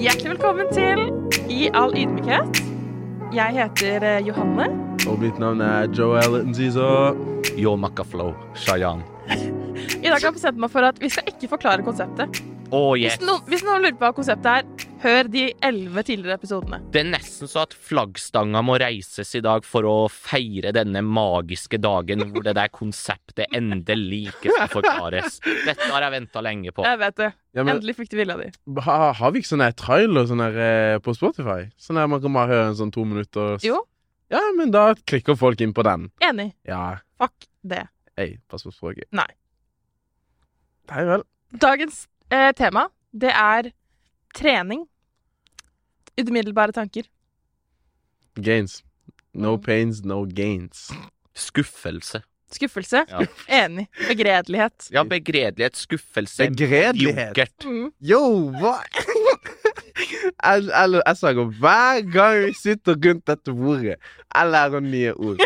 Hjertelig velkommen til I all ydmykhet. Jeg heter eh, Johanne. Og mitt navn er Joel Nziza. Yo Macaflow, Shayan. I dag har jeg bestemt meg for at vi skal ikke forklare konseptet. Oh, Hvis yes. noen, hvis noen lurer på hva konseptet er, hør de elleve tidligere episodene. Det er nesten så at flaggstanga må reises i dag for å feire denne magiske dagen hvor det der konseptet endelig ikke skal forklares. Dette har jeg venta lenge på. Jeg vet det. Ja, men, Endelig fikk de vilja di. ha, har vi ikke sånn her trailer sånn her, eh, på Spotify? Sånn her man kan bare høre en sånn to minutter s- Jo. Ja, men da klikker folk inn på den. Enig. Ja, Fuck det. ei, pass på språket. Nei. Nei vel. Dagens eh, tema, det er trening. Umiddelbare tanker. Gains. No Mhm. pains, no gains. Skuffelse. Skuffelse. Ja. Enig. Begredelighet. Ja, begredelighet, skuffelse, Begredelighet. yoghurt. Mm. Yo, hva Jeg, jeg, jeg snakker hver gang vi sitter rundt dette bordet. Jeg lærer nye ord.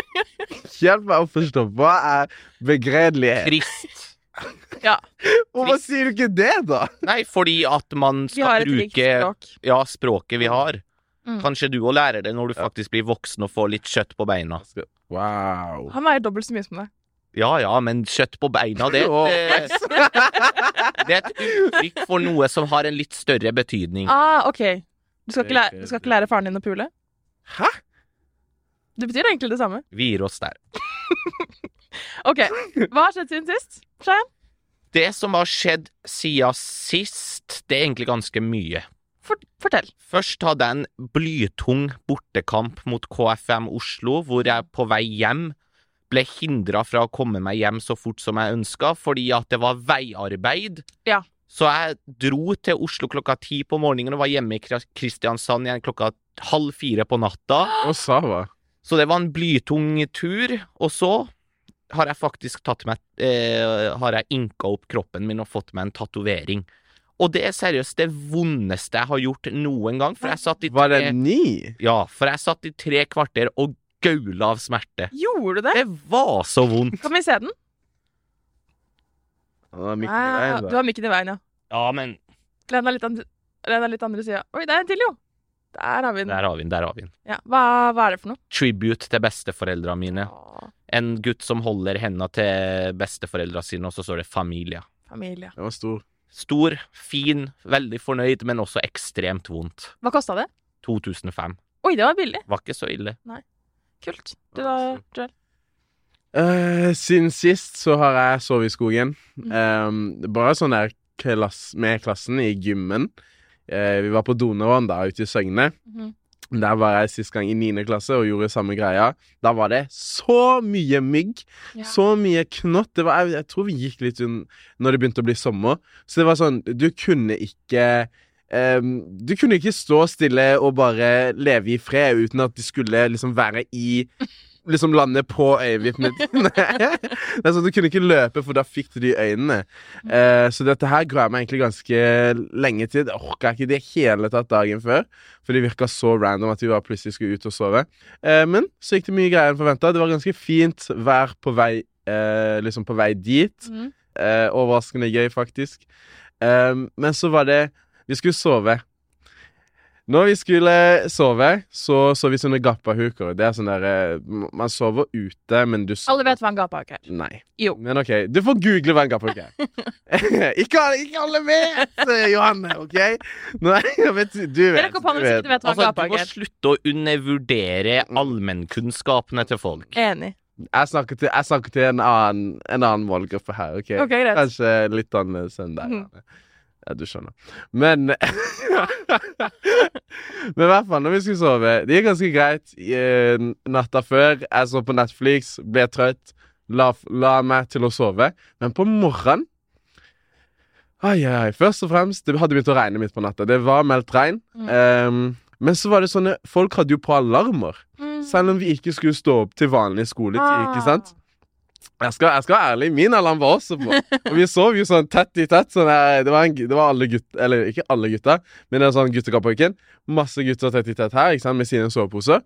Hjelp meg å forstå. Hva er begredelighet? Trist. Hvorfor sier du ikke det, da? Nei, fordi at man Vi har skal et rikt bruke språk. ja, språket vi har. Mm. Kanskje du òg lærer det når du faktisk blir voksen og får litt kjøtt på beina. Wow. Han veier dobbelt så mye som deg. Ja ja, men kjøtt på beina, det, eh, Åh. det, det er et uttrykk for noe som har en litt større betydning. Ah, OK. Du skal, ikke lære, du skal ikke lære faren din å pule? Hæ? Det betyr egentlig det samme. Vi gir oss der. OK. Hva har skjedd siden sist? Shayan? Det som har skjedd siden sist, det er egentlig ganske mye. For, fortell. Først hadde jeg en blytung bortekamp mot KFM Oslo, hvor jeg på vei hjem ble hindra fra å komme meg hjem så fort som jeg ønska, fordi at det var veiarbeid. Ja. Så jeg dro til Oslo klokka ti på morgenen og var hjemme i Kra- Kristiansand igjen klokka halv fire på natta. Og Sava. Så det var en blytung tur, og så har jeg faktisk tatt meg eh, Har jeg inka opp kroppen min og fått meg en tatovering. Og det er seriøst det vondeste jeg har gjort noen gang, for jeg satt i Var det tre, ni? ja, for jeg satt i tre kvarter og gaula av smerte. Gjorde du det? Det var så vondt. Kan vi se den? Ah, Mikkel Ah, Rein, du da. har mikken i veien, ja. Ja, men Len deg litt, andre- len deg litt andre sida. Oi, det er en til, jo! Der har vi den. der har vi den. der har vi den. Ja. Hva, hva er det for noe? Tribute til besteforeldra mine. Å, En gutt som holder henda til besteforeldra sine, og så står det 'familia'. familie. Den var stor. Stor, fin, veldig fornøyd, men også ekstremt vondt. Hva kosta det? 2005. Oi, det var billig. Var ikke så ille. Kult. Du da, Joel? Eh, siden sist så har jeg sovet i skogen. Mm. Eh, bare sånn der klass, med klassen i gymmen. Eh, vi var på Donovan da, ute i Søgne. Mhm. Der var jeg sist gang i 9. klasse og gjorde samme greia. Da var det så mye mygg. Ja. Så mye knott. Det var, jeg, jeg tror vi gikk litt un når det begynte å bli sommer. Så det var sånn Du kunne ikke ehm, Du kunne ikke stå stille og bare leve i fred uten at de skulle liksom være i Liksom lande på øyevippene dine. Det er sånn, du kunne ikke løpe, for da fikk du de øynene. Eh, så dette her gruer jeg meg egentlig ganske lenge til. Det orka jeg ikke i det hele tatt dagen før. For det virka så random at vi bare plutselig skulle ut og sove. Eh, men så gikk det mye greier enn forventa. Det var ganske fint vær på vei, eh, liksom på vei dit. Mhm. Eh, overraskende gøy, faktisk. Eh, men så var det Vi skulle sove. Når vi skulle sove, så sov vi sånne gappahuker. Det er sånn der eh, Man sover ute, men du sover Alle vet hva en gapahuk er. Nei. Jo. Men OK, du får google hva en gapahuk er. ikke, alle- ikke alle vet, eh, Johanne, OK? Nei, jeg vet, du vet. Rekk opp hånda hvis ikke du vet hva en Altså, du gapahuk må er. slutte å undervurdere allmennkunnskapene til folk. Enig. Jeg snakker til, jeg snakker til en, annen, en annen målgruppe her, OK? OK, greit. Kanskje litt annerledes enn deg. Mhm. Janne. Ja, du skjønner. Men Men i hvert fall, når vi skulle sove Det gikk ganske greit eh, natta før. Jeg så på Netflix, ble trøtt, la, la meg til å sove. Men på morgenen Ai, ai, ai. Først og fremst, det hadde begynt å regne midt på natta. Det var meldt regn. Mhm. Ehm, men så var det sånne Folk hadde jo på alarmer. Mm. Ah. Selv om vi ikke skulle stå opp til vanlig skoletid, ikke sant? Jeg skal, jeg skal være ærlig, min alarm var også på. Og vi sov jo sånn tett i tett. Sånn, eh, det, var en, gu- det var alle gutter Eller ikke alle gutta, men det var sånn guttekappahuken. Masse gutter tett i tett her ikke sant, med sine soveposer.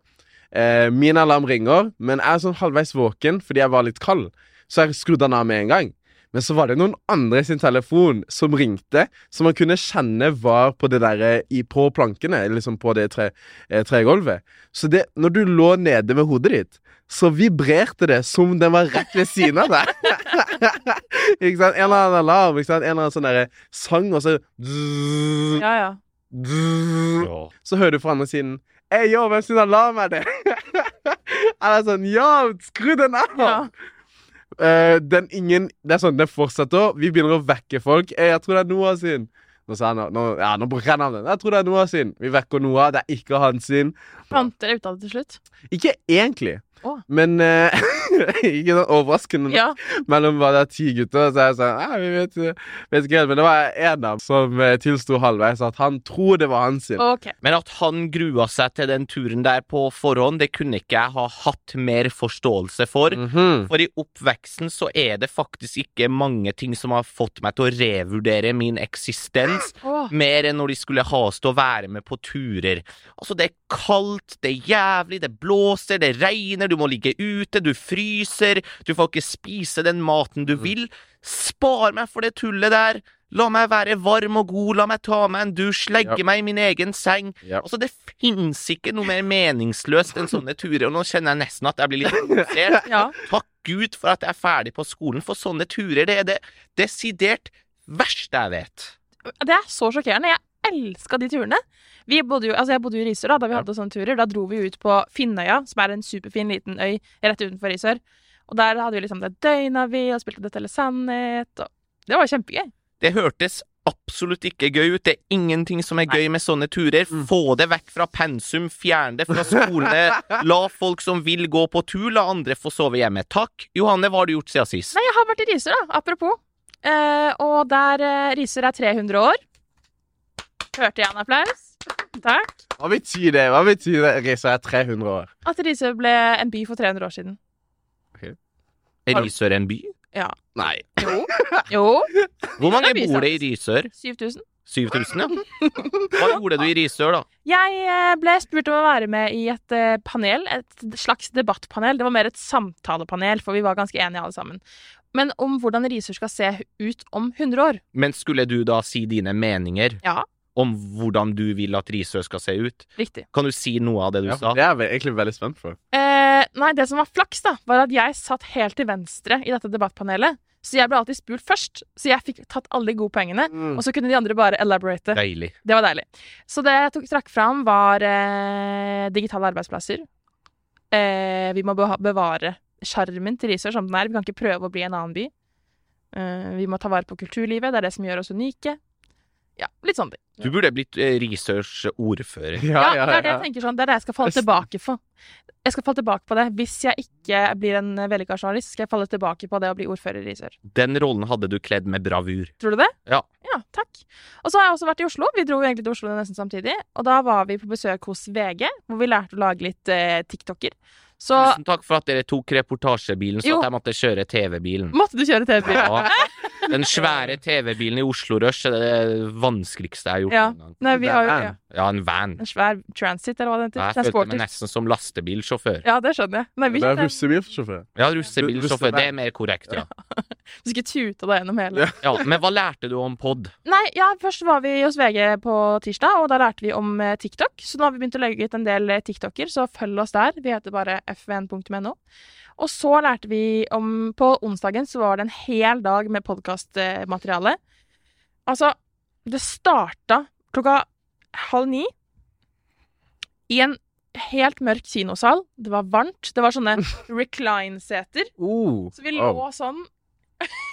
Eh, min alarm ringer, men jeg er sånn halvveis våken fordi jeg var litt kald. Så jeg skrudde den av med en gang. Men så var det noen andre sin telefon som ringte, som man kunne kjenne var på det der, eh, i, på plankene, eller liksom på det tre, eh, tregulvet. Så det, når du lå nede med hodet ditt, så vibrerte det som den var rett ved siden av deg. ikke sant? En eller annen alarm, ikke sant? en eller annen sånn derre sang, og så dzz, Ja, ja. dzz, så hører du fra andre siden Ei, yo, hvem sin alarm er det? Eller sånn Ja, skru den av! ja. Eh, den ingen Det er sånn, den fortsetter. Vi begynner å vekke folk. Eh, jeg tror det er Noah sin. Nå sa han nå, Ja, nå bruker han navnet. Jeg tror det er Noah sin. Vi vekker Noah. Det er ikke han sin. Fant dere ut av det til slutt? Ikke egentlig, Å. men eh, Ikke sånn overraskende Ja. mellom hva det er ti gutter. Så er jeg sånn «Nei, vi vet, vet ikke helt, Men det var en av dem som eh, tilsto halvveis at han tror det var han sin. OK. Men at han grua seg til den turen der på forhånd, det kunne ikke jeg ha hatt mer forståelse for. Mhm. For i oppveksten så er det faktisk ikke mange ting som har fått meg til å revurdere min eksistens, Åh. mer enn når de skulle ha oss til å være med på turer. Altså, det er kaldt, det er jævlig, det blåser, det regner, du må ligge ute, du fryser, du får ikke spise den maten Mm. du vil. Spar meg for det tullet der! La meg være varm og god, la meg ta meg en dusj, legge Ja. meg i min egen seng. Ja. Altså, det fins ikke noe mer meningsløst enn sånne turer, og nå kjenner jeg nesten at jeg blir litt provosert. Ja. Takk Gud for at jeg er ferdig på skolen, for sånne turer det er det desidert verste jeg vet. Det er så sjokkerende. Jeg elska de turene. Vi bodde jo, altså jeg bodde jo i Risør da, da vi hadde sånne turer. Da dro vi ut på Finnøya, som er en superfin liten øy rett utenfor Risør. Og der hadde vi liksom det døgna vi, og spilte Dette eller sannhet. Og det var jo kjempegøy. Det hørtes absolutt ikke gøy ut. Det er ingenting som er gøy med sånne turer. Mm. Få det vekk fra pensum, fjern det fra skolene. La folk som vil gå på tur, la andre få sove hjemme. Takk. Johanne, hva har du gjort siden sist? Nei, jeg har vært i Risør, da. Apropos. Eh, og der eh, Risør er 300 år. Hørte jeg en applaus? Takk. Hva betyr det? Hva betyr det? Risa er 300 år. At Risør ble en by for 300 år siden. Er Risør en by? Nei. Jo. Jo. Hvor Det mange er by, bor det i Risør? 7000. 7000, ja. Hva gjorde du i Risør, da? Jeg eh, ble spurt om å være med i et eh, panel, et slags debattpanel. Det var mer et samtalepanel, for vi var ganske enige alle sammen. Men om hvordan Risør skal se ut om 100 år. Men skulle du da si dine meninger Ja. om hvordan du vil at Risør skal se ut? Riktig. Kan du si noe av det du Ja, sa? det er jeg egentlig veldig spent på. Eh, nei, det som var flaks, da, var at jeg satt helt til venstre i dette debattpanelet. Så jeg ble alltid spurt først, så jeg fikk tatt alle de gode poengene. Mm. Og så kunne de andre bare elaborate. Deilig. Det var deilig. Så det jeg tok, trakk fram, var eh, digitale arbeidsplasser. Eh, vi må beha- bevare sjarmen til Risør som den er. Vi kan ikke prøve å bli en annen by. Eh, vi må ta vare på kulturlivet. Det er det som gjør oss unike. Ja, litt sånne ting. Du burde blitt eh, Risørs ordfører. Ja, det er det jeg tenker sånn. Det er det jeg skal falle Østen. tilbake for. Jeg skal falle tilbake på det. Hvis jeg ikke blir en eh, vellykka journalist, skal jeg falle tilbake på det å bli ordfører i Risør. Den rollen hadde du kledd med bravur. Tror du det? Ja. Ja, takk. Og så har jeg også vært i Oslo. Vi dro jo egentlig til Oslo nesten samtidig. Og da var vi på besøk hos VG, hvor vi lærte å lage litt eh, TikToker. Så Tusen takk for at dere tok reportasjebilen, så Jo. at jeg måtte kjøre TV-bilen. måtte du kjøre TV-bil. Ja. Den svære TV-bilen i Oslo Rush er det vanskeligste jeg har gjort Ja. noen gang. Nei, vi har jo ja, Ja, en van. en svær transit, eller hva det heter. Jeg følte meg Transporter. nesten som lastebilsjåfør. Ja, det skjønner jeg. Nei, vi, Det er russebilsjåfør. Ja, russebilsjåfør. Russevan. Det er mer korrekt, ja. vi skulle tute deg gjennom hele. Ja. ja. Men hva lærte du om pod? Nei, ja, først var vi hos VG på tirsdag, og da lærte vi om eh, TikTok. Så nå har vi begynt å legge ut en del eh, TikToker, så følg oss der. Vi heter bare fvn.no. Og så lærte vi om På onsdagen så var det en hel dag med podkastmateriale. Altså, det starta klokka halv ni i en helt mørk kinosal. Det var varmt. Det var sånne recline-seter. Oh. Så vi lå sånn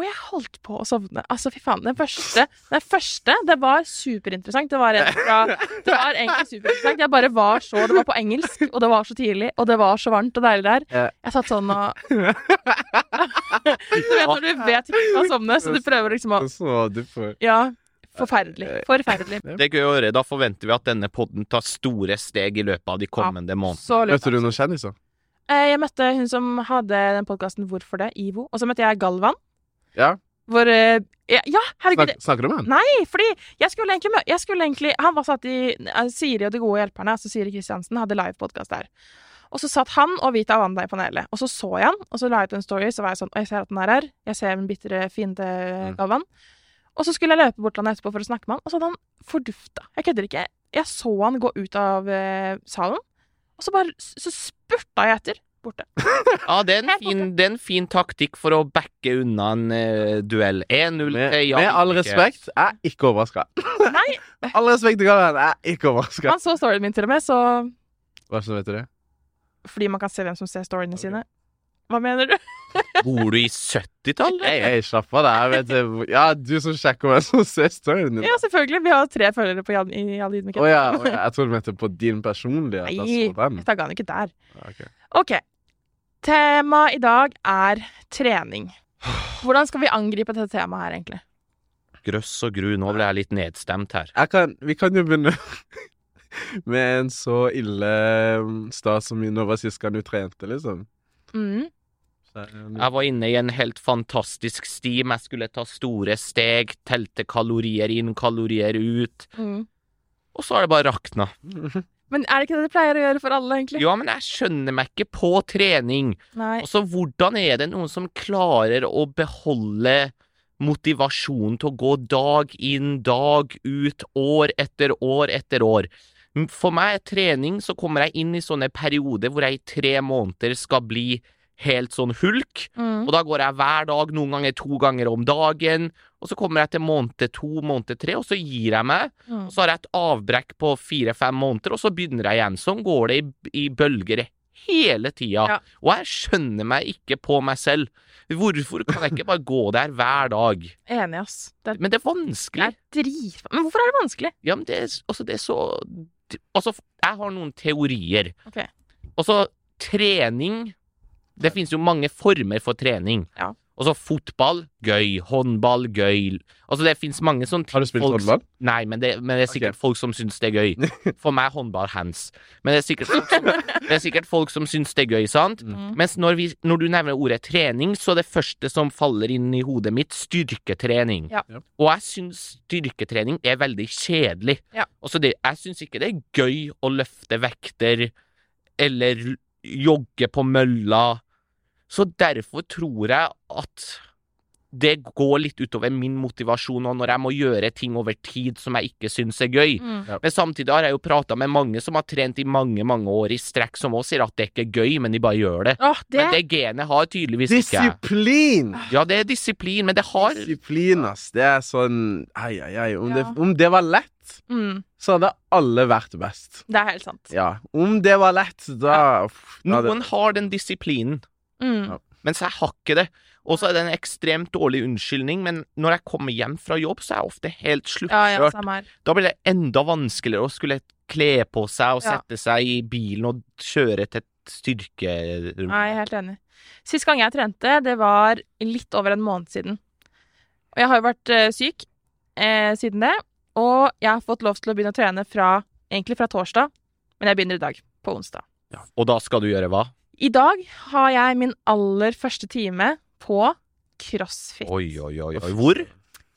Og jeg holdt på å sovne. Altså, fy faen. Den første, den første det var superinteressant. Det var, en fra, det var egentlig superinteressant. Jeg bare var så Det var på engelsk, og det var så tidlig, og det var så varmt og deilig der. Ja. Jeg satt sånn og Du vet når du vet ikke å sovne, så du prøver liksom å Så du får Ja. Forferdelig. Forferdelig. Det er gøy å høre. Da forventer vi at denne podden tar store steg i løpet av de kommende månedene. Så lurt. Møter du noen kjendiser? Eh, Jeg møtte hun som hadde den podkasten Hvorfor det? Ivo. Og så møtte jeg Galvan. Ja. Hvor eh, Ja, ja, herregud. Snak, snakker du med han? Nei, fordi jeg skulle egentlig, mø- jeg skulle egentlig Han var satt i eh, Siri og De gode hjelperne, altså Siri Kristiansen, hadde livepodkast der. Og så satt han og Vita Wanda i panelet, og så så jeg han, og så la jeg ut en story, så var jeg sånn «Oi, Jeg ser at han er her, jeg ser min bitre fiende Mm. Galvan. Og så skulle jeg løpe bort til han etterpå for å snakke med han, og så hadde han fordufta. Jeg kødder ikke. Jeg så han gå ut av eh, salen, og så bare Så spurta jeg etter. Borte. Ja, det er en Helt fin, det er en fin taktikk for å backe unna en eh, duell. 1-0 til Med, Jan med all Vike. respekt, jeg er ikke overraska. Nei, All respekt til Galvan, jeg er ikke overraska. han så storyen min til og med, så Hva som vet du det? Fordi man kan se hvem som ser storyene sine. Hva mener du? Bor du i 70-tallet? Jeg er slapp av deg. vet du. Ja, du som sjekker hvem som ser storyen din. Ja, selvfølgelig. Vi har tre følgere på Jan, i All Å ydmykhet. ja, å ja, jeg trodde du mente på din personlighet. at Jeg så den. Jeg tagga han ikke der. Ok. Ok. Temaet i dag er trening. Hvordan skal vi angripe dette temaet her, egentlig? Grøss og gru, nå ble jeg litt nedstemt her. Jeg kan, vi kan jo begynne med en så ille mm, start som når var sist gang du trente, liksom. Mm. Så, Jeg var inne i en helt fantastisk stim. Jeg skulle ta store steg, telte kalorier inn, kalorier ut. Mm. Og så har det bare rakna. Men er det ikke det de pleier å gjøre for alle, egentlig? Ja, men jeg skjønner meg ikke på trening. Nei. Altså, hvordan er det noen som klarer å beholde motivasjonen til å gå dag inn, dag ut, år etter år etter år? M- For meg er trening så kommer jeg inn i sånne perioder hvor jeg i tre måneder skal bli helt sånn hulk. Mm. Og da går jeg hver dag, noen ganger to ganger om dagen. Og så kommer jeg til måned to, måned tre, og så gir jeg meg. Mm. Og så har jeg et avbrekk på fire-fem måneder, og så begynner jeg igjen. Sånn går det i, i bølger hele tida. Ja. Og jeg skjønner meg ikke på meg selv. Hvorfor kan jeg ikke bare gå der hver dag? Enig, ass. Det er, Men det er det vanskelig. er drit... Men hvorfor er det vanskelig? Ja, men det er, altså, det er så Altså, jeg har noen teorier. Ok. Altså, trening Det finnes jo mange former for trening. Ja. Altså fotball gøy, håndball gøy. Altså det finnes mange sånne ting Har du spilt folk- håndball? Nei, men det, men det er sikkert folk som syns det er gøy. For meg håndball hands. Men det er sikkert folk som, det er sikkert folk som syns det er gøy, sant? Mm. Mens når, vi, når du nevner ordet trening, så er det første som faller inn i hodet mitt, styrketrening. Ja. Ja. Og jeg syns styrketrening er veldig kjedelig. Ja. Altså det, jeg syns ikke det er gøy å løfte vekter eller jogge på mølla. Så derfor tror jeg at det går litt utover min motivasjon og når jeg må gjøre ting over tid som jeg ikke syns er gøy. Mm. Men samtidig har jeg jo prata med mange som har trent i mange mange år i strekk, som også sier at det ikke er gøy, men de bare gjør det. Åh, det Men det genet har tydeligvis ikke jeg. Disiplin! Ja, det er disiplin, men det har Disiplin, ass. Det er sånn Ai, ai, ai. Om, Ja. det, om det var lett, mm. så hadde alle vært best. Det er helt sant. Ja. Om det var lett, da uff, da hadde- Noen har den disiplinen, Mm. Ja. mens jeg har ikke det. Og så er det en ekstremt dårlig unnskyldning, men når jeg kommer hjem fra jobb, så er jeg ofte helt Ja, ja, sluttkjørt. samme her. Da blir det enda vanskeligere å skulle kle på seg og Ja. sette seg i bilen og kjøre til et styrkerom. Nei, jeg er helt enig. Sist gang jeg trente, det var litt over en måned siden. Og jeg har jo vært eh, syk eh, siden det, og jeg har fått lov til å begynne å trene fra, egentlig fra torsdag, men jeg begynner i dag, på onsdag. Og da skal du gjøre hva? I dag har jeg min aller første time på crossfit. Oi, oi, oi, oi. Hvor?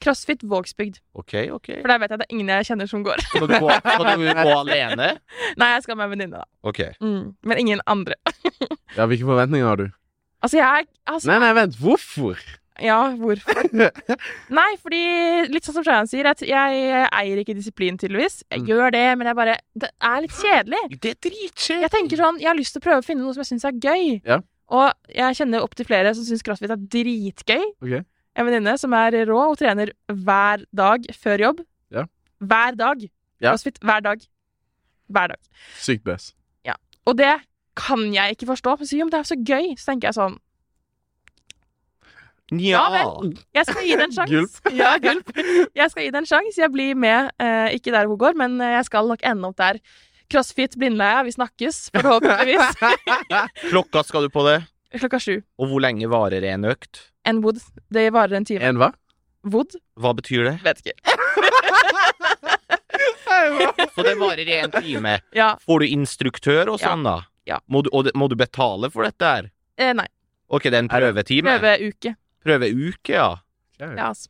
Crossfit Vågsbygd. Ok, ok. For der vet jeg at det er ingen jeg kjenner som går. Skal du gå, skal du gå alene? Nei, jeg skal med en venninne, da. Ok. Mm. Men ingen andre. Ja, Hvilke forventninger har du? Altså, jeg altså, Nei, nei, vent. Hvorfor? Ja, hvorfor? Nei, fordi litt sånn som Shayan sier, jeg, jeg eier ikke disiplin, tydeligvis. Jeg Mm. gjør det, men jeg bare Det er litt kjedelig. Det er dritkjedelig. Jeg tenker sånn, jeg har lyst til å prøve å finne noe som jeg syns er gøy. Ja. Og jeg kjenner opp til flere som syns crossfit er dritgøy. Ok. En venninne som er rå og trener hver dag før jobb. Ja. Hver dag. Ja. Crossfit hver dag. Hver dag. Sykt best. Og det kan jeg ikke forstå. Men så, jo, men det er jo så gøy. Så tenker jeg sånn Ja, vel. Jeg skal gi det en sjanse. Gulp. Ja, gulp. Jeg skal gi det en sjanse. Jeg blir med, eh, ikke der hun går, men eh, jeg skal nok ende opp der. Crossfit Blindleia, vi snakkes forhåpentligvis Klokka skal du på det. klokka sju. Og hvor lenge varer en økt? En wood. Det varer en time. En hva? Wood? Hva betyr det? Vet ikke. Så det varer i en time. Ja. Får du instruktør og Ja. sånn, da? Ja. Må du, og det- må du betale for dette her? Eh, nei. Ok, det er en prøvetime. Prøveuke. Prøveuke, ja. Ja, altså.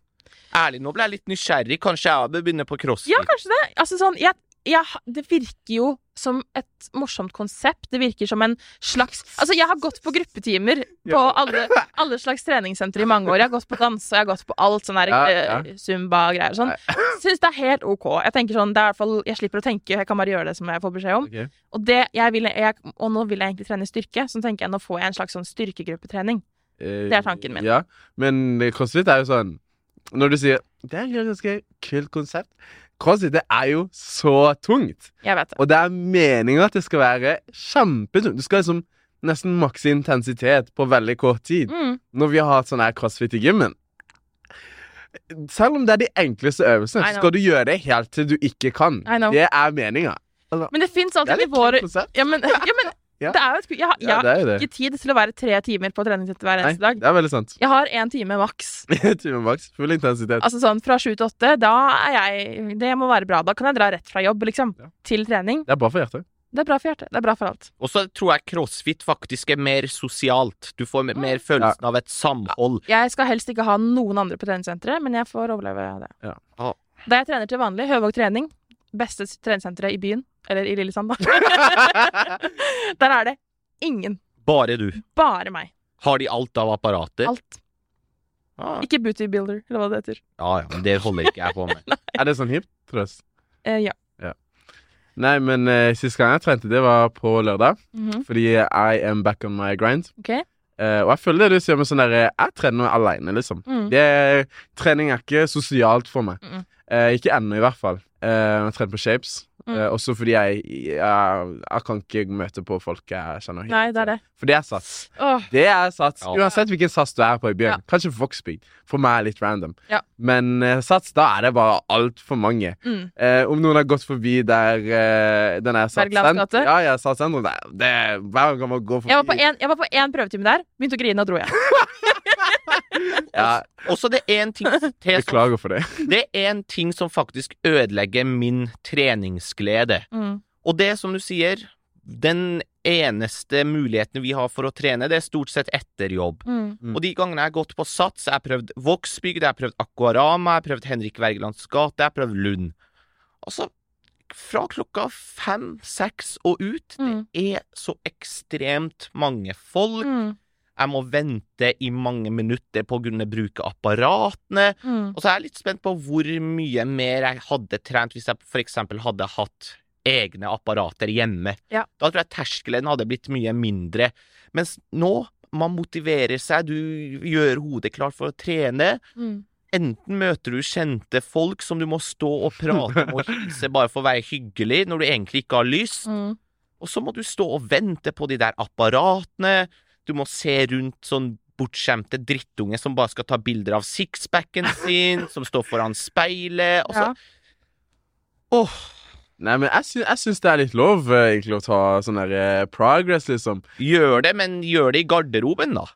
Ærlig, nå ble jeg litt nysgjerrig. Kanskje jeg bør begynne på crossfit? ja, kanskje det. Altså sånn, jeg, jeg, ha- det virker jo som et morsomt konsept. Det virker som en slags Altså, jeg har gått på gruppetimer på Ja. alle, alle slags treningssentre i mange år. Jeg har gått på dans, og jeg har gått på alt sånn der Ja, eh, Zumba-greier og sånn. Syns det er helt OK. Jeg tenker sånn, det er i hvert fall Jeg slipper å tenke, jeg kan bare gjøre det som jeg får beskjed om. Ok. Og, det, jeg vil, jeg, og nå vil jeg egentlig trene styrke, så tenker jeg nå får jeg en slags sånn styrkegruppetrening. Eh, Det er tanken min. Ja, men eh, crossfit er jo sånn Når du sier Det er et ganske kult konsept. Crossfit det er jo så tungt. Jeg vet det. Og det er meninga at det skal være kjempetungt. Du skal liksom nesten makse intensitet på veldig kort tid. Mm. Når vi har hatt sånn her crossfit i gymmen Selv om det er de enkleste øvelsene, I know. så skal du gjøre det helt til du ikke kan. I know. Det er meninga. Men det fins Det er alltid litt kult nivåer konsept. Ja, men, ja, men Ja. det er jo et ku- Jeg, har- jeg Ja, har det er jo det. ikke tid til å være tre timer på treningssenter hver Nei, eneste dag. det er veldig sant. Jeg har én time maks. Time maks. Full intensitet. Altså sånn fra sju til åtte, da er jeg Det må være bra. Da kan jeg dra rett fra jobb, liksom, Ja. til trening. Det er bra for hjertet. Det er bra for hjertet. Det er bra for alt. Og så tror jeg crossfit faktisk er mer sosialt. Du får mer- mer følelsen av et samhold. Jeg skal helst ikke ha noen andre på treningssenteret, men jeg får overleve det. Ja. Ah. Ja. Da jeg trener til vanlig, Høvåg trening, beste s- treningssenteret i byen, eller i Lillesand, da, der er det ingen. Bare du. Bare meg. Har de alt av apparater? Alt. Ah, Ikke booty builder, eller hva det heter. ja, ja, men det holder ikke jeg på med. Er det sånn hipt? Trøst. Eh, ja. Nei, men uh, sist gang jeg trente, det var på lørdag. Mhm. Fordi I am back on my grind. Ok. Eh, og jeg føler det du sier med sånn derre Jeg trener aleine, liksom. Mm. Det, trening er ikke sosialt for meg. Mm. Eh, ikke ennå, i hvert fall. Eh, jeg trener på shapes. Mm. Eh, også fordi jeg, jeg, jeg kan ikke møte på folk jeg kjenner. Nei, det er det. For det er sats. Åh, Det er sats. Ja. Uansett hvilken sats du er på i Ja. byen. Kanskje Vågsbygd. For meg er litt random. Ja. Men eh, sats, da er det bare altfor mange. mm. Eh, om noen har gått forbi der eh, den er Wergelands satsen- gate? Ja, ja, satssentrum der. Det, hver gang man går forbi Jeg var på en- jeg var på én prøvetime der, begynte å grine og dro igjen. ja, Og så det er en ting til som Beklager for det. Det er en ting som faktisk ødelegger min treningsglede. Mm. Og det som du sier, den eneste muligheten vi har for å trene, det er stort sett etter jobb. Mm. Mm. Og de gangene jeg har gått på Sats, jeg har prøvd Vågsbygd, jeg har prøvd Aquarama, jeg har prøvd Henrik Wergelands gate, jeg har prøvd Lund. Altså, fra klokka fem, seks og ut, Mm. det er så ekstremt mange folk. Mm. Jeg må vente i mange minutter på grunn av bruk av apparatene. Mm. Og så er jeg litt spent på hvor mye mer jeg hadde trent hvis jeg f.eks. hadde hatt egne apparater hjemme. Ja. Da tror jeg terskelen hadde blitt mye mindre. Mens nå, man motiverer seg, du gjør hodet klart for å trene. Mm. Enten møter du kjente folk som du må stå og prate med og hilse bare for å være hyggelig, når du egentlig ikke har lyst. Mm. Og så må du stå og vente på de der apparatene. Du må se rundt sånn bortskjemte drittunge som bare skal ta bilder av sixpacken sin, som står foran speilet, og så Ja. Åh! Nei, men jeg, sy jeg syns det er litt lov eh, egentlig å ta sånn der eh, progress, liksom. Gjør det, men gjør det i garderoben, da.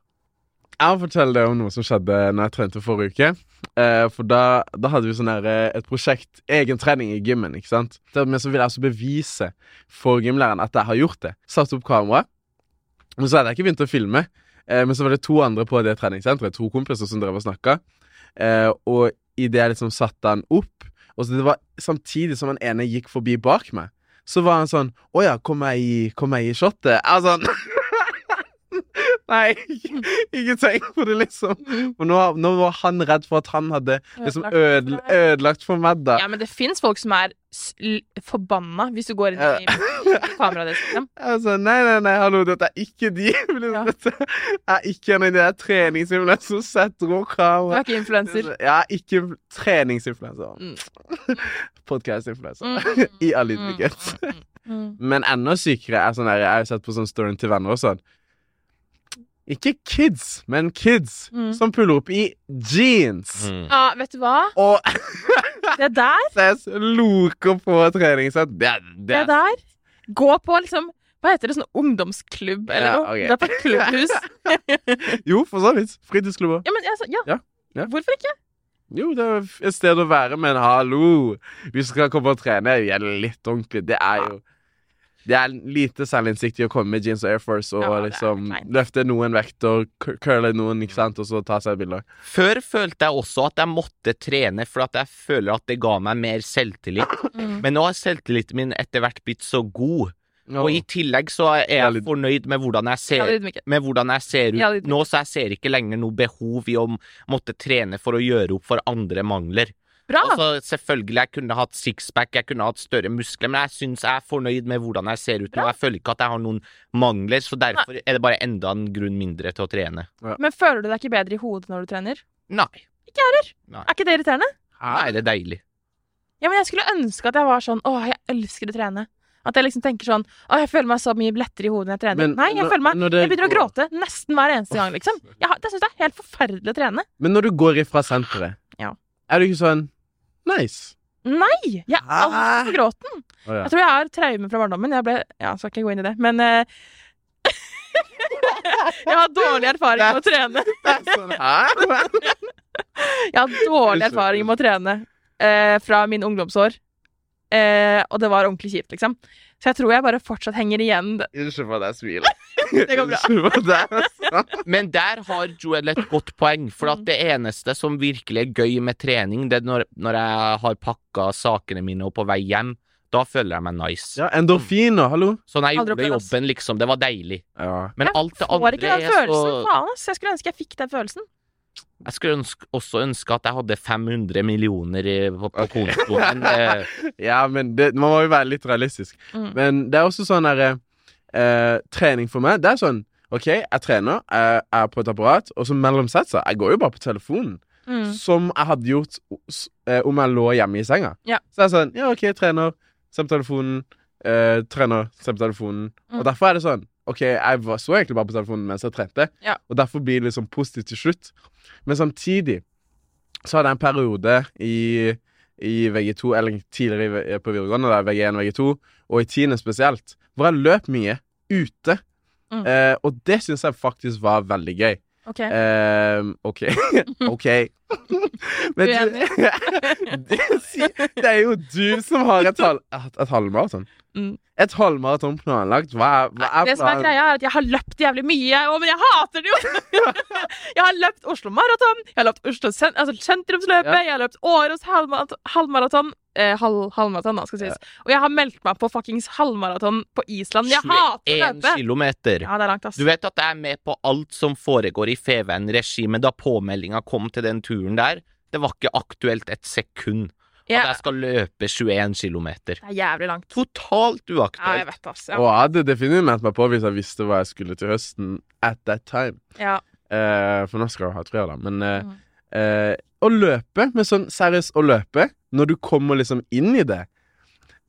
Jeg må fortelle deg om noe som skjedde når jeg trente forrige uke. Eh, for da, da hadde vi sånn her, eh, et prosjekt, egentrening i gymmen. ikke sant? Det- Men så ville jeg altså bevise for gymlæreren at jeg har gjort det. Satte opp kamera. Men så hadde jeg ikke begynt å filme. Eh, men så var det to andre på det treningssenteret, to kompiser som drev og snakka. Eh, og idet jeg liksom satte han opp, og så det var samtidig som han ene gikk forbi bak meg, så var han sånn Å ja, kom jeg i, kom jeg i shotet? Jeg var sånn Nei, ikke, ikke tenk på det, liksom. Og nå, nå var han redd for at han hadde liksom ødel, ødelagt for meg, da. Ja, men det fins folk som er s- l- forbanna hvis du går inn i kameraet ditt. Liksom. Jeg sa Altså, nei, nei, nei, hallo, dette er ikke de. Liksom, Ja. Dette er ikke en av de der treningssimulene som setter Du er opp kamera. ikke influenser. Jeg er ikke treningsinfluenser. Mm. Podcast-influenser. Mm. altså. I all ydmykhet. Mm. Mm. Men enda sykere er sånn der, jeg har jo sett på sånn storyen til venner og sånn. Ikke kids, men kids Mm. som puller opp i Mm. jeans. Ja, vet du hva? Og Det der, SS loker på treningssett. Det, er- det det er der. Gå på liksom Hva heter det? Sånn ungdomsklubb eller Ja, noe? ok. Du er på et klubbhus. Jo, for så vidt. Fritidsklubber. Ja, men altså, ja. Ja, ja. Hvorfor ikke? Jo, det er et sted å være, men hallo! Vi skal komme og trene. Vi er litt ordentlig. Det er jo Det er lite selvinnsikt i å komme med jeans og Air Force og Ja, det er liksom kleint. løfte noen vekt og cur- curle noen, ikke sant, og så ta seg et bilde. Før følte jeg også at jeg måtte trene, for at jeg føler at det ga meg mer selvtillit. Mm. Men nå har selvtilliten min etter hvert blitt så god, og i Og- tillegg så er Ja, jeg litt- fornøyd med hvordan jeg Ja, ser det ydmyker. med hvordan jeg ser ut Ja, det- nå, så jeg ser ikke lenger noe behov i å måtte trene for å gjøre opp for andre mangler. Bra! Altså, selvfølgelig, jeg kunne hatt sixpack, jeg kunne hatt større muskler, men jeg syns jeg er fornøyd med hvordan jeg ser ut nå. Bra. Jeg føler ikke at jeg har noen mangler, så derfor er det bare enda en grunn mindre til å trene. Men føler du deg ikke bedre i hodet når du trener? Nei. Ikke jeg heller. Nei. Er ikke det irriterende? Nei, det er deilig. Ja, men jeg skulle ønske at jeg var sånn Åh, jeg elsker å trene. At jeg liksom tenker sånn Åh, jeg føler meg så mye lettere i hodet når jeg trener. Men Nei, jeg når- føler meg når Jeg det begynner å går- gråte nesten hver eneste gang, liksom. Jeg, har- jeg syns det er helt forferdelig å trene. Men når du går ifra senteret, Ja. er du ikke sånn Nice. Nei! Jeg er altfor gråten. Å, ja. Jeg tror jeg har traume fra barndommen. Jeg ble Ja, skal ikke gå inn i det, men eh, Jeg har dårlig erfaring med å trene. sånn, Hæ? Jeg har dårlig erfaring med å trene eh, fra mine ungdomsår. Eh, og det var ordentlig kjipt, liksom. Så jeg tror jeg bare fortsatt henger igjen. Unnskyld for at jeg smiler. Det går bra. Unnskyld for at jeg sånn. sa- Men der har Joel et godt poeng, for at Mm. det eneste som virkelig er gøy med trening, det er når, når jeg har pakka sakene mine og på vei hjem. Da føler jeg meg nice. Ja, endorfiner, hallo. Så når Aldri jeg gjorde opplevd, ass. jobben, liksom, det var deilig. Ja. Men Jeg alt det Får ikke andre den er følelsen. så Faen, ass. Jeg skulle ønske jeg fikk den følelsen. Jeg skulle ønske, også ønske at jeg hadde 500 millioner i- på, på Ok. kontoen. eh, ja, men det, man må jo være litt realistisk. Mm. Men det er også sånn derre eh, Trening for meg, det er sånn OK, jeg trener, jeg er på et apparat, og så mellomsetser jeg. går jo bare på telefonen. Mm. Som jeg hadde gjort s- eh, om jeg lå hjemme i senga. Ja. Så jeg er sånn Ja, OK, jeg trener, se på telefonen. eh, trener, se på telefonen. Mm. Og derfor er det sånn OK, jeg var, så egentlig bare på telefonen mens jeg trente, Ja. og derfor blir det liksom positivt til slutt. Men samtidig så hadde jeg en periode i, i VG2, eller tidligere i, eh, på videregående, da, VG1, VG2, og i tiende spesielt, hvor jeg løp mye ute. Mm. Eh, og det syns jeg faktisk var veldig gøy. Ok. Eh, OK. OK. Men du det, det er jo du som har et, hal, et, et halvmaraton. Mm. Et halvmaraton planlagt? Hva er, hva er det som er planen? greia, er at jeg har løpt jævlig mye. Å, men jeg hater det jo! jeg har løpt Oslo Maraton, jeg har løpt Oslo sen altså sentrumsløpet, jeg har løpt Åros halvmarat- halvmaraton. Eh, halv halvmaraton, da, skal sies. Og jeg har meldt meg på fuckings halvmaraton på Island. Jeg hater å 21 løpe! kilometer. Ja, det er langt, ass. Du vet at jeg er med på alt som foregår i Feven-regi, men da påmeldinga kom til den turen der, det var ikke aktuelt et sekund Jeg- at jeg skal løpe 21 kilometer. det er jævlig langt. Totalt Ja, jeg uaktuelt. vet, ass. Ja. Og jeg hadde definert meg på hvis jeg visste hva jeg skulle til høsten at that time. Ja. Eh, for nå skal jeg ha tre, da. Men eh, Mm. eh, å løpe, men sånn seriøst å løpe, når du kommer liksom inn i det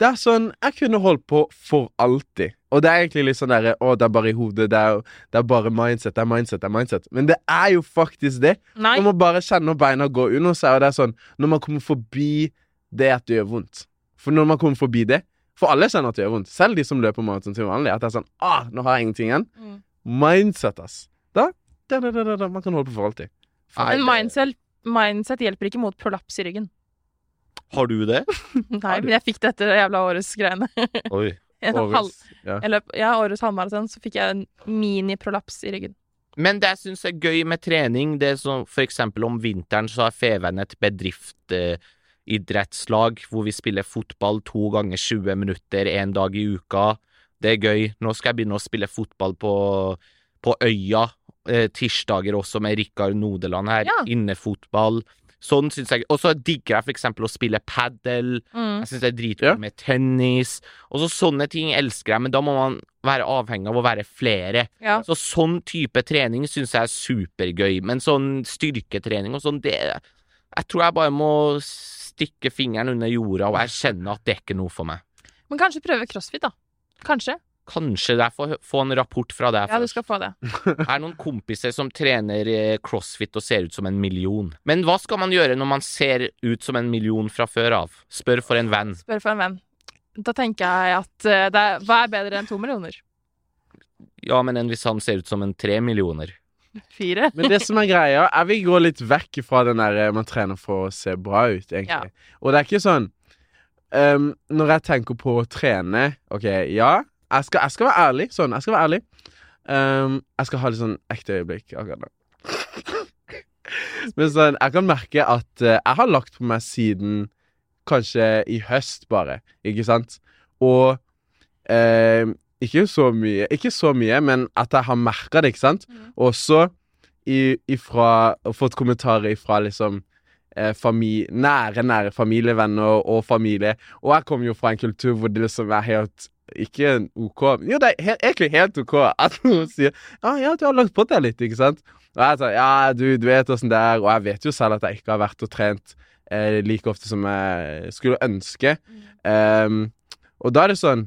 Det er sånn Jeg kunne holdt på for alltid. Og det er egentlig litt sånn derre Å, det er bare i hodet. Det er, det er bare mindset. Det er mindset. Det er mindset. Men det er jo faktisk det. Nei. Man må bare kjenne når beina gå under seg, og det er sånn Når man kommer forbi det at det gjør vondt For når man kommer forbi det For alle kjenner at det gjør vondt, selv de som løper maraton til vanlig. At det er sånn ah, 'Nå har jeg ingenting igjen.' Mm. Mindset, ass. Da, da, da, da, da, da. Man kan holde på for alltid. Men mindset, mindset hjelper ikke mot prolaps i ryggen. Har du det? Nei, men jeg fikk dette jævla Åros-greiene. Oi. En Årets- halv- ja. Jeg løp, ja, Årets halvmaraton, så fikk jeg en mini-prolaps i ryggen. Men det jeg syns er gøy med trening, det er som for eksempel om vinteren så har Feven et bedriftsidrettslag eh, idrettslag hvor vi spiller fotball to ganger 20 minutter en dag i uka. Det er gøy. Nå skal jeg begynne å spille fotball på, på Øya eh, tirsdager også med Rikard Nodeland her. Ja. Innefotball. Sånn syns jeg. Og så digger jeg for eksempel å spille padel. Mm. Jeg syns det er dritgøy Ja. med tennis. Og så sånne ting elsker jeg, men da må man være avhengig av å være flere. Ja. Så sånn type trening syns jeg er supergøy, men sånn styrketrening og sånn, det Jeg tror jeg bare må stikke fingeren under jorda og erkjenne at det er ikke noe for meg. Men kanskje prøve crossfit, da. Kanskje. Kanskje jeg får hø- få en rapport fra deg Ja, du først. skal få det. Jeg har noen kompiser som trener eh, crossfit og ser ut som en million. Men hva skal man gjøre når man ser ut som en million fra før av? Spør for en venn. Spør for en venn. Da tenker jeg at eh, det er, hva er bedre enn to millioner? Ja, men enn hvis han ser ut som en tre millioner? Fire? Men det som er greia, jeg vil gå litt vekk fra den der eh, man trener for å se bra ut, egentlig. Og det er ikke sånn ehm, Når jeg tenker på å trene OK, ja, Jeg skal, jeg skal være ærlig. Sånn, jeg skal være ærlig. Ehm, jeg skal ha litt sånn ekte øyeblikk akkurat nå. Men sånn, jeg kan merke at eh, jeg har lagt på meg siden kanskje i høst, bare. Ikke sant? Og ehm, ikke så mye, ikke så mye, men at jeg har merka det, ikke sant? Mhm. Også i, ifra og Fått kommentarer ifra liksom eh, fami, nære, nære familievenner og familie. Og jeg kommer jo fra en kultur hvor det liksom er helt ikke en OK Jo, det er he egentlig helt OK at noen sier Ja, ja, du har lagt på deg litt, ikke sant? Og jeg sa ja, du, du vet åssen det er, og jeg vet jo selv at jeg ikke har vært og trent eh, like ofte som jeg skulle ønske. Ehm, og da er det sånn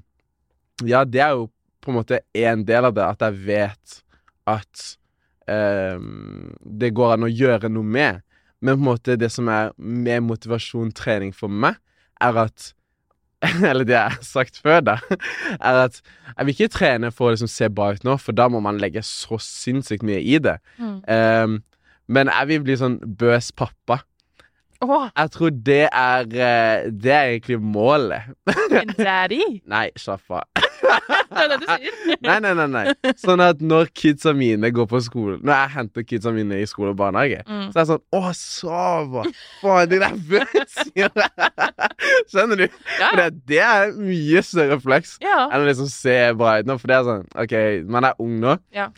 Ja, det er jo på en måte en del av det at jeg vet at ehm, det går an å gjøre noe med. Men på en måte det som er med motivasjon trening for meg, er at Eller det jeg har sagt før, da. Er at jeg vil ikke trene for å liksom se bra ut nå, for da må man legge så sinnssykt mye i det. Mm. Ehm, men jeg vil bli sånn bøs pappa. Åh, Jeg tror det er eh, Det er egentlig målet. en daddy! Nei, slapp av. Det er det du sier. Nei, nei, nei, nei. Sånn at når kidsa mine går på skolen Når jeg henter kidsa mine i skole og barnehage, Mm. så er jeg sånn Å, Sava! Faen, det der bøs! Skjønner du? Ja. For det, det er mye større flex Ja. enn å liksom se bra ut nå. For det er sånn OK, man er ung nå, Ja.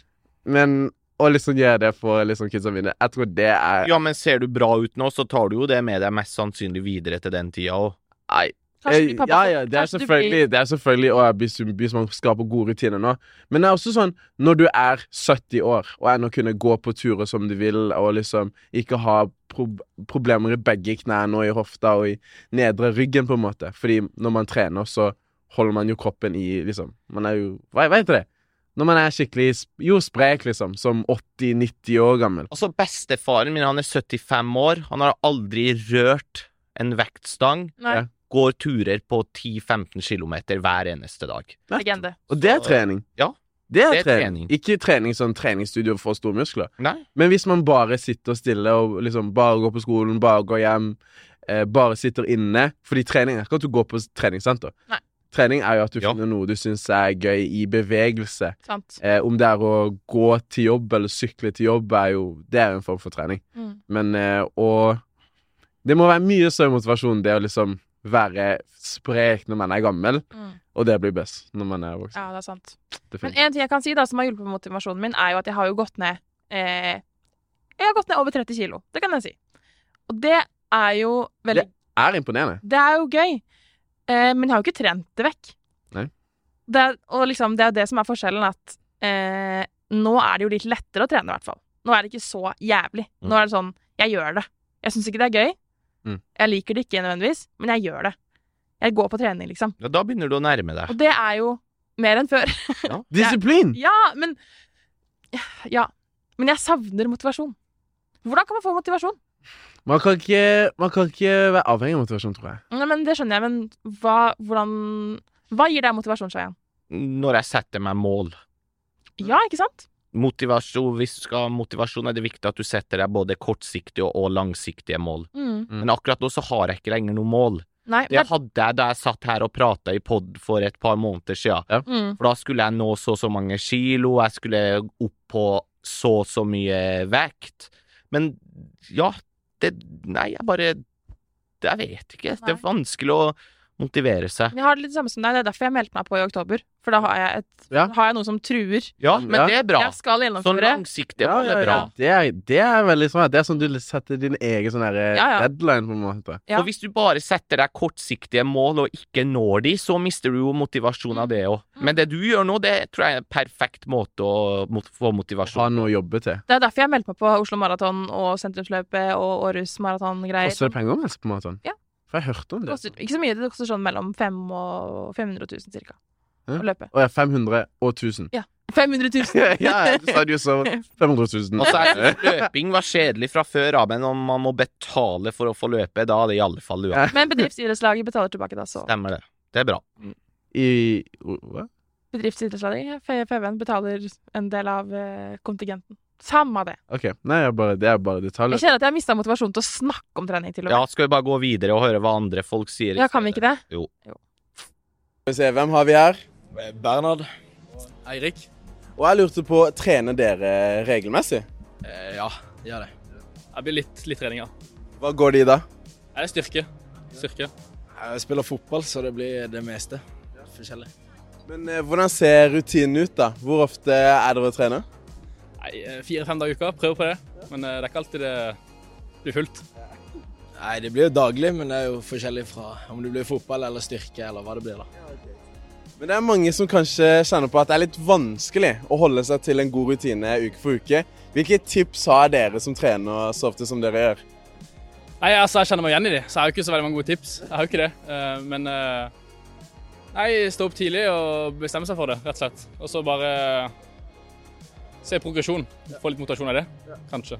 men å liksom gjøre det for liksom kidsa mine Jeg tror det er Ja, men ser du bra ut nå, så tar du jo det med deg mest sannsynlig videre til den tida òg. Nei, Kanskje blir pappa ja, ja, det er kanskje du selvfølgelig, det er selvfølgelig å, hvis, hvis man skaper gode rutiner nå. Men det er også sånn, når du er 70 år og ennå kunne gå på turer som du vil, og liksom ikke ha prob problemer i begge knærne og i hofta og i nedre ryggen, på en måte. Fordi når man trener, så holder man jo kroppen i liksom Man er jo Hva hva heter det? Når man er skikkelig sp jo sprek, liksom, som 80-90 år gammel. Altså, bestefaren min, han er 75 år. Han har aldri rørt en vektstang. Blir... Nei, Ja. Går turer på 10-15 km hver eneste dag. legende. Og det er trening. Ja. Det er, Det er trening. trening. Ikke trening sånn treningsstudio for store muskler. Nei. Men hvis man bare sitter stille og liksom bare går på skolen, bare går hjem, eh, bare sitter inne Fordi trening er ikke at du går på s- treningssenter. Nei. Trening er jo at du Ja. finner noe du syns er gøy i bevegelse. Sant. Eh, om det er å gå til jobb eller sykle til jobb, er jo, det er jo en form for trening. Mm. Men eh, og Det må være mye større motivasjon det å liksom være sprek når man er gammel, Mm. og det blir best når man er voksen. Ja, det er sant. Men definitivt. en ting jeg kan si da, som har hjulpet motivasjonen min, er jo at jeg har jo gått ned eh, Jeg har gått ned over 30 kilo. Det kan jeg si. Og det er jo veldig Er imponerende. Det er jo gøy. Eh, men jeg har jo ikke trent det vekk. Nei. Det er, og liksom, det er jo det som er forskjellen, at eh, nå er det jo litt lettere å trene, i hvert fall. Nå er det ikke så jævlig. Mm. Nå er det sånn Jeg gjør det. Jeg syns ikke det er gøy. Mm. Jeg liker det ikke nødvendigvis, men jeg gjør det. Jeg går på trening, liksom. Ja, da begynner du å nærme deg. Og det er jo mer enn før. Disiplin! Ja, men Ja. Men jeg savner motivasjon. Hvordan kan man få motivasjon? Man kan, ikke, man kan ikke være avhengig av motivasjon, tror jeg. Nei, men Det skjønner jeg, men hva, hvordan, hva gir deg motivasjon, Shayan? Når jeg setter meg mål. Ja, ikke sant? Motivasjon, hvis du skal ha motivasjon, er det viktig at du setter deg både kortsiktige og- og langsiktige mål. Mm. Mm. Men akkurat nå så har jeg ikke lenger noe mål. Nei, Det men, hadde jeg da jeg satt her og prata i pod for et par måneder sia. mm, For da skulle jeg nå så og så mange kilo, jeg skulle opp på så og så mye vekt. Men ja, det Nei, jeg bare det- Jeg vet ikke. Det er Nei. vanskelig å motivere seg. jeg har det litt det samme som deg. Det er derfor jeg meldte meg på i oktober. For da har jeg, et, Ja. har jeg noe som truer. Ja, men Ja. det er bra. Jeg skal Sånn gjennomføre. langsiktig mål er bra. Det, er, det er veldig sånn at Det er sånn du setter din egen sånn derre Ja, ja. deadline, på en måte. Ja. Og hvis du bare setter deg kortsiktige mål og ikke når de, så mister du jo motivasjon Mm. av det òg. Men det du gjør nå, det tror jeg er en perfekt måte å mot Ha få motivasjon noe å jobbe til. Det er derfor jeg meldte meg på Oslo Maraton og Sentrumsløpet og Århus Maraton-greier. Koster det penger å melde seg på maraton? Ja. For jeg hørte om Det det. koster ikke så mye, det koster sånn mellom 5 og 500 000 cirka. Ja. Å løpe. Å ja, 500 og 1000. 500 ja, 000! ja, du sa det jo så 500 000. Altså, jeg synes løping var kjedelig fra før av, men om man må betale for å få løpe, da er det i alle fall uansett. Men bedriftsidrettslaget betaler tilbake, da, så. Stemmer det. Det er bra. I hva? Bedriftsidrettslaget, F- FVN, betaler en del av eh, kontingenten. Samme det. OK. Nei, jeg bare, det er bare Jeg detaljer. kjenner at jeg har mista motivasjonen til å snakke om trening, til og Ja, med. skal vi bare gå videre og høre hva andre folk sier? i Ja, kan vi ikke stedet? det? Skal vi se, hvem har vi her? Bernhard. Eirik. Og jeg lurte på, trener dere regelmessig? Eh, ja, gjør det. Jeg blir litt, litt trening, ja. Hva går det i da? Jeg er styrke. Styrke. Eh, Jeg spiller fotball, så det blir det meste. Forskjellig. Men eh, hvordan ser rutinen ut da? Hvor ofte er dere å trene? Nei, eh, Fire-fem dager i uka, prøver på det. Men eh, det er ikke alltid det blir fullt. Nei, det blir jo daglig, men det er jo forskjellig fra om det blir fotball eller styrke eller hva det blir, da. Men det er mange som kanskje kjenner på at det er litt vanskelig å holde seg til en god rutine uke for uke. Hvilke tips har dere som trener så ofte som dere gjør? Nei, altså, Jeg kjenner meg igjen i de, så jeg har jo ikke så veldig mange gode tips. Jeg har jo ikke det. Eh, Men eh, nei, stå opp tidlig og bestemme seg for det, rett og slett. Og så bare se progresjon. Få litt motivasjon av det, kanskje.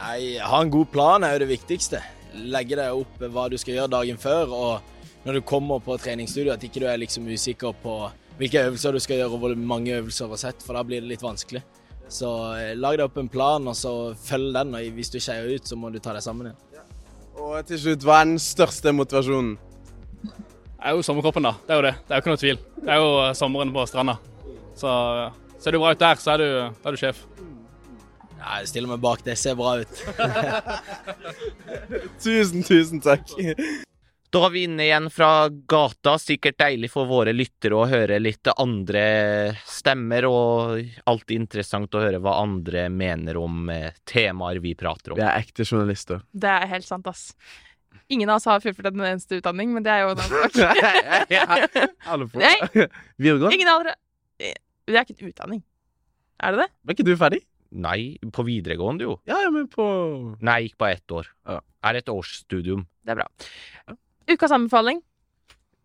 Nei, ha en god plan er jo det viktigste. Legge deg opp hva du skal gjøre dagen før, og når du kommer på treningsstudio, at ikke du er liksom usikker på hvilke øvelser du skal gjøre, og hvor mange øvelser og sett, for da blir det litt vanskelig. Så eh, lag deg opp en plan, og så følg den, og hvis du skeier ut, så må du ta deg sammen igjen. Og til slutt, hva er den største motivasjonen? Det er jo sommerkroppen, da. Det er jo det. Det er jo ikke noe tvil. Det er jo eh, sommeren på stranda. Så eh, ser du bra ut der, så er du, da er du sjef. Nei, jeg stiller meg bak det, ser bra ut. Tusen, tusen takk. Da er vi inne igjen fra gata. Sikkert deilig for våre lyttere å høre litt andre stemmer, og alltid interessant å høre hva andre mener om eh, temaer vi prater om. Vi er ekte journalister. Det er helt sant, ass. Ingen av oss har fullført en eneste utdanning, men det er jo en annen sak. Alle på. Nei. Videregående? Ingen av dere Det er ikke en utdanning. Er det det? Var ikke du ferdig? Nei, på videregående, jo. Ja, ja, men på Nei, jeg gikk bare ett år. Ja. Er et årsstudium. Det er bra. Ukas anbefaling.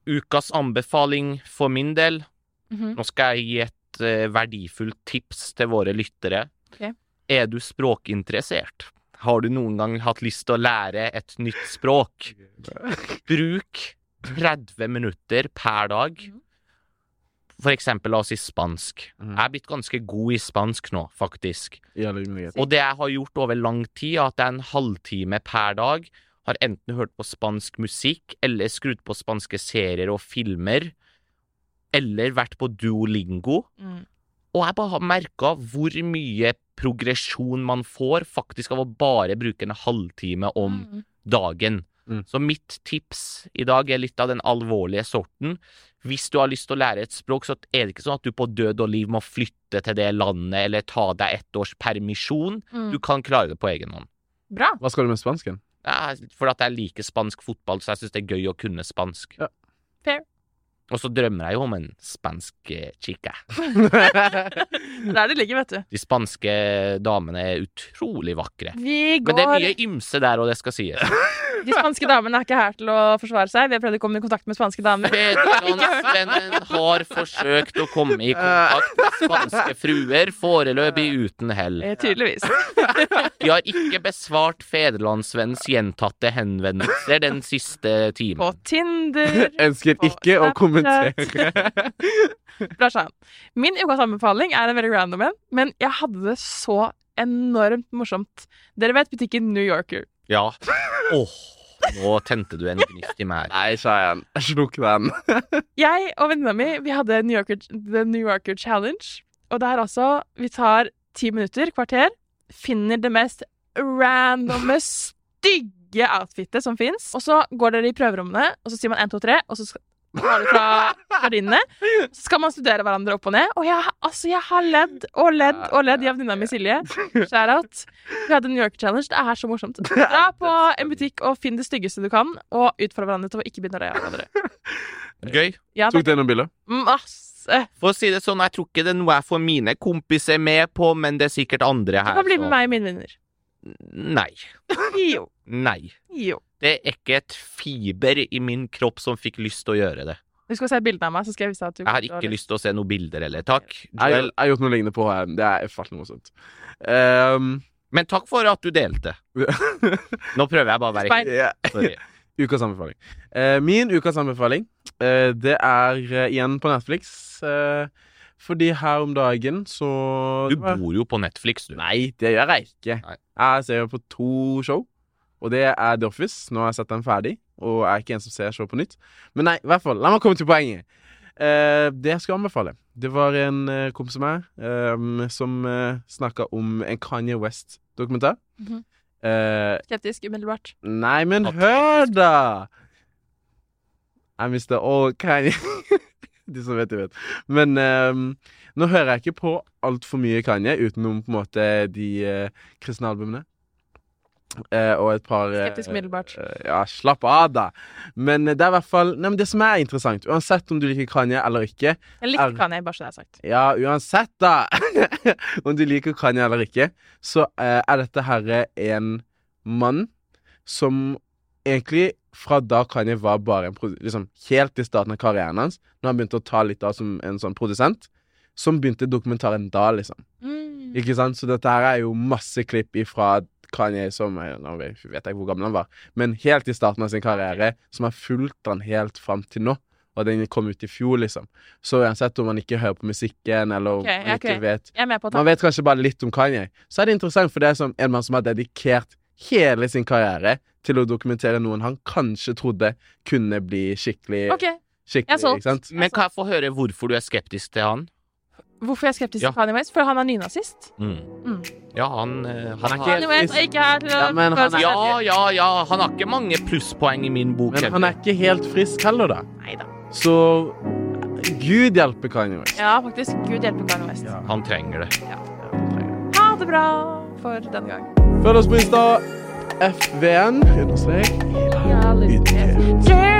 Ukas anbefaling for min del Mhm. Nå skal jeg gi et eh, verdifullt tips til våre lyttere. Ok. Er du språkinteressert? Har du noen gang hatt lyst til å lære et nytt språk? Bruk 30 minutter per dag. Mhm. For eksempel, la oss si spansk. Mhm. Jeg er blitt ganske god i spansk nå, faktisk. Ja, det er mye greit. Og det jeg har gjort over lang tid, er at jeg en halvtime per dag har enten hørt på spansk musikk, eller skrudd på spanske serier og filmer, eller vært på duolingo. Mm. Og jeg bare har merka hvor mye progresjon man får faktisk av å bare bruke en halvtime om Mm. dagen. Mm. Så mitt tips i dag er litt av den alvorlige sorten. Hvis du har lyst til å lære et språk, så er det ikke sånn at du på død og liv må flytte til det landet eller ta deg ett års permisjon. Mm. Du kan klare det på egen hånd. Bra. Hva skal du med spansken? Ja, for at jeg liker spansk fotball, så jeg syns det er gøy å kunne spansk. Ja. Fair. Og så drømmer jeg jo om en spansk eh, chica. Det er der det ligger, vet du. De spanske damene er utrolig vakre. Vi Men det er går mye ymse der, og det skal sies. De spanske damene er ikke her til å forsvare seg. Vi har prøvd å komme i kontakt med spanske damer. Fedrelandsvennen har forsøkt å komme i kontakt med spanske fruer, foreløpig uten hell. Eh, Tydeligvis. De har ikke besvart Fedrelandsvennens gjentatte henvendelser den siste På timen. Tinder Ønsket ikke å kommentere. Bra, Shayan. Min ukas anbefaling er en veldig random en, men jeg hadde det så enormt morsomt. Dere vet butikken New Yorker. Ja. Åh, nå tente du en gnist i meg. her. Nei, Shayan. Slukk den. Jeg og venninna mi vi hadde New Yorker, The New Yorker Challenge. Og det er altså Vi tar ti minutter, kvarter, finner det mest randomme, stygge outfitet som fins. Og så går dere i prøverommene, og så sier man 1, 2, 3, og så skal drar du fra gardinene. Så skal man studere hverandre opp og ned. Og jeg, altså, jeg har ledd og ledd og ledd. Jeg og venninna mi Silje, shout-out. Vi hadde New York Challenge. Det er så morsomt. Dra på en butikk og finn det styggeste du kan, og utfordre hverandre til å ikke begynne å røye av hverandre. Gøy. Ja, Tok dere noen bilder? Masse. For å si det sånn, jeg tror ikke det er noe jeg får mine kompiser med på, men det er sikkert andre Du her. kan bli med så- meg og mine venner. Nei. Jo. Nei. Jo. Det er ikke et fiber i min kropp som fikk lyst til å gjøre det. Du skal se bildene av meg, så skal jeg vise deg at du Jeg har ikke lyst til å se noen bilder heller. Takk. Jeg har Joel. jeg har gjort noe lignende på HM. Det er fattelig morsomt. Ehm, Men takk for at du delte. Nå prøver jeg bare å være Speil. ja. Sorry. Ukas anbefaling. Eh, min ukas anbefaling, eh, det er eh, igjen på Netflix. eh, fordi her om dagen så Du bor jo på Netflix, du. Nei, det gjør jeg ikke. Nei. Jeg ser jo på to show, og det er The Office. Nå har jeg sett den ferdig, og jeg er ikke en som ser show på nytt. Men nei, i hvert fall, la meg komme til poenget. Eh, det skal jeg anbefale. Det var en eh, kompis av meg eh, som eh, snakka om en Kanye West-dokumentar. Mhm. Eh, Skeptisk umiddelbart. nei, men At- hør, da! I mister all Kanye. De som vet, de vet. Men eh, nå hører jeg ikke på altfor mye Kanye utenom på en måte de eh, kristne albumene. Eh, og et par eh, Skeptisk umiddelbart. eh, ja, slapp av, da. Men eh, det er i hvert fall Nei, men det som er interessant, uansett om du liker Kanye eller ikke, Jeg Er- likte Kanye, bare så det er sagt. ja, uansett da Om du liker Kanye eller ikke Så eh, er dette herre en mann Som egentlig fra da Kanye var bare en produ- liksom, Helt i starten av karrieren hans Når han begynte å ta litt av som en sånn produsent Som begynte dokumentaren da liksom Mm. Ikke sant? Så dette her er jo masse klipp ifra Kanye som er- Nå vet jeg ikke hvor gammel han var Men helt i starten av sin karriere Som har fulgt han helt frem til nå Og den kom ut i fjor liksom Så uansett om man ikke hører på musikken Eller om Ok, man ikke ok. vet Jeg er med på Man det. vet kanskje bare litt om Kanye Så er det interessant for det er som en mann som har dedikert Hele sin karriere Til å dokumentere noen han kanskje trodde Kunne bli skikkelig OK, jeg er Skikkelig, solgt. ikke sant? Men kan jeg få høre hvorfor du er skeptisk til han? hvorfor er jeg skeptisk til Ja. Kanye West? For han er nynazist. Mm. Ja, han, eh, han har Kanye West er ikke her til å Ja, men han er- Ja, ja, ja. Han har ikke mange plusspoeng i min bok. Men han er ikke helt frisk heller da Neida. Så Gud hjelper Kanye West Ja, faktisk. Gud hjelpe Kanye West. Ja. Han trenger det. Ha det bra for denne gang. Følg oss på Insta. FVN understrek Ja, lykke til. Yeah!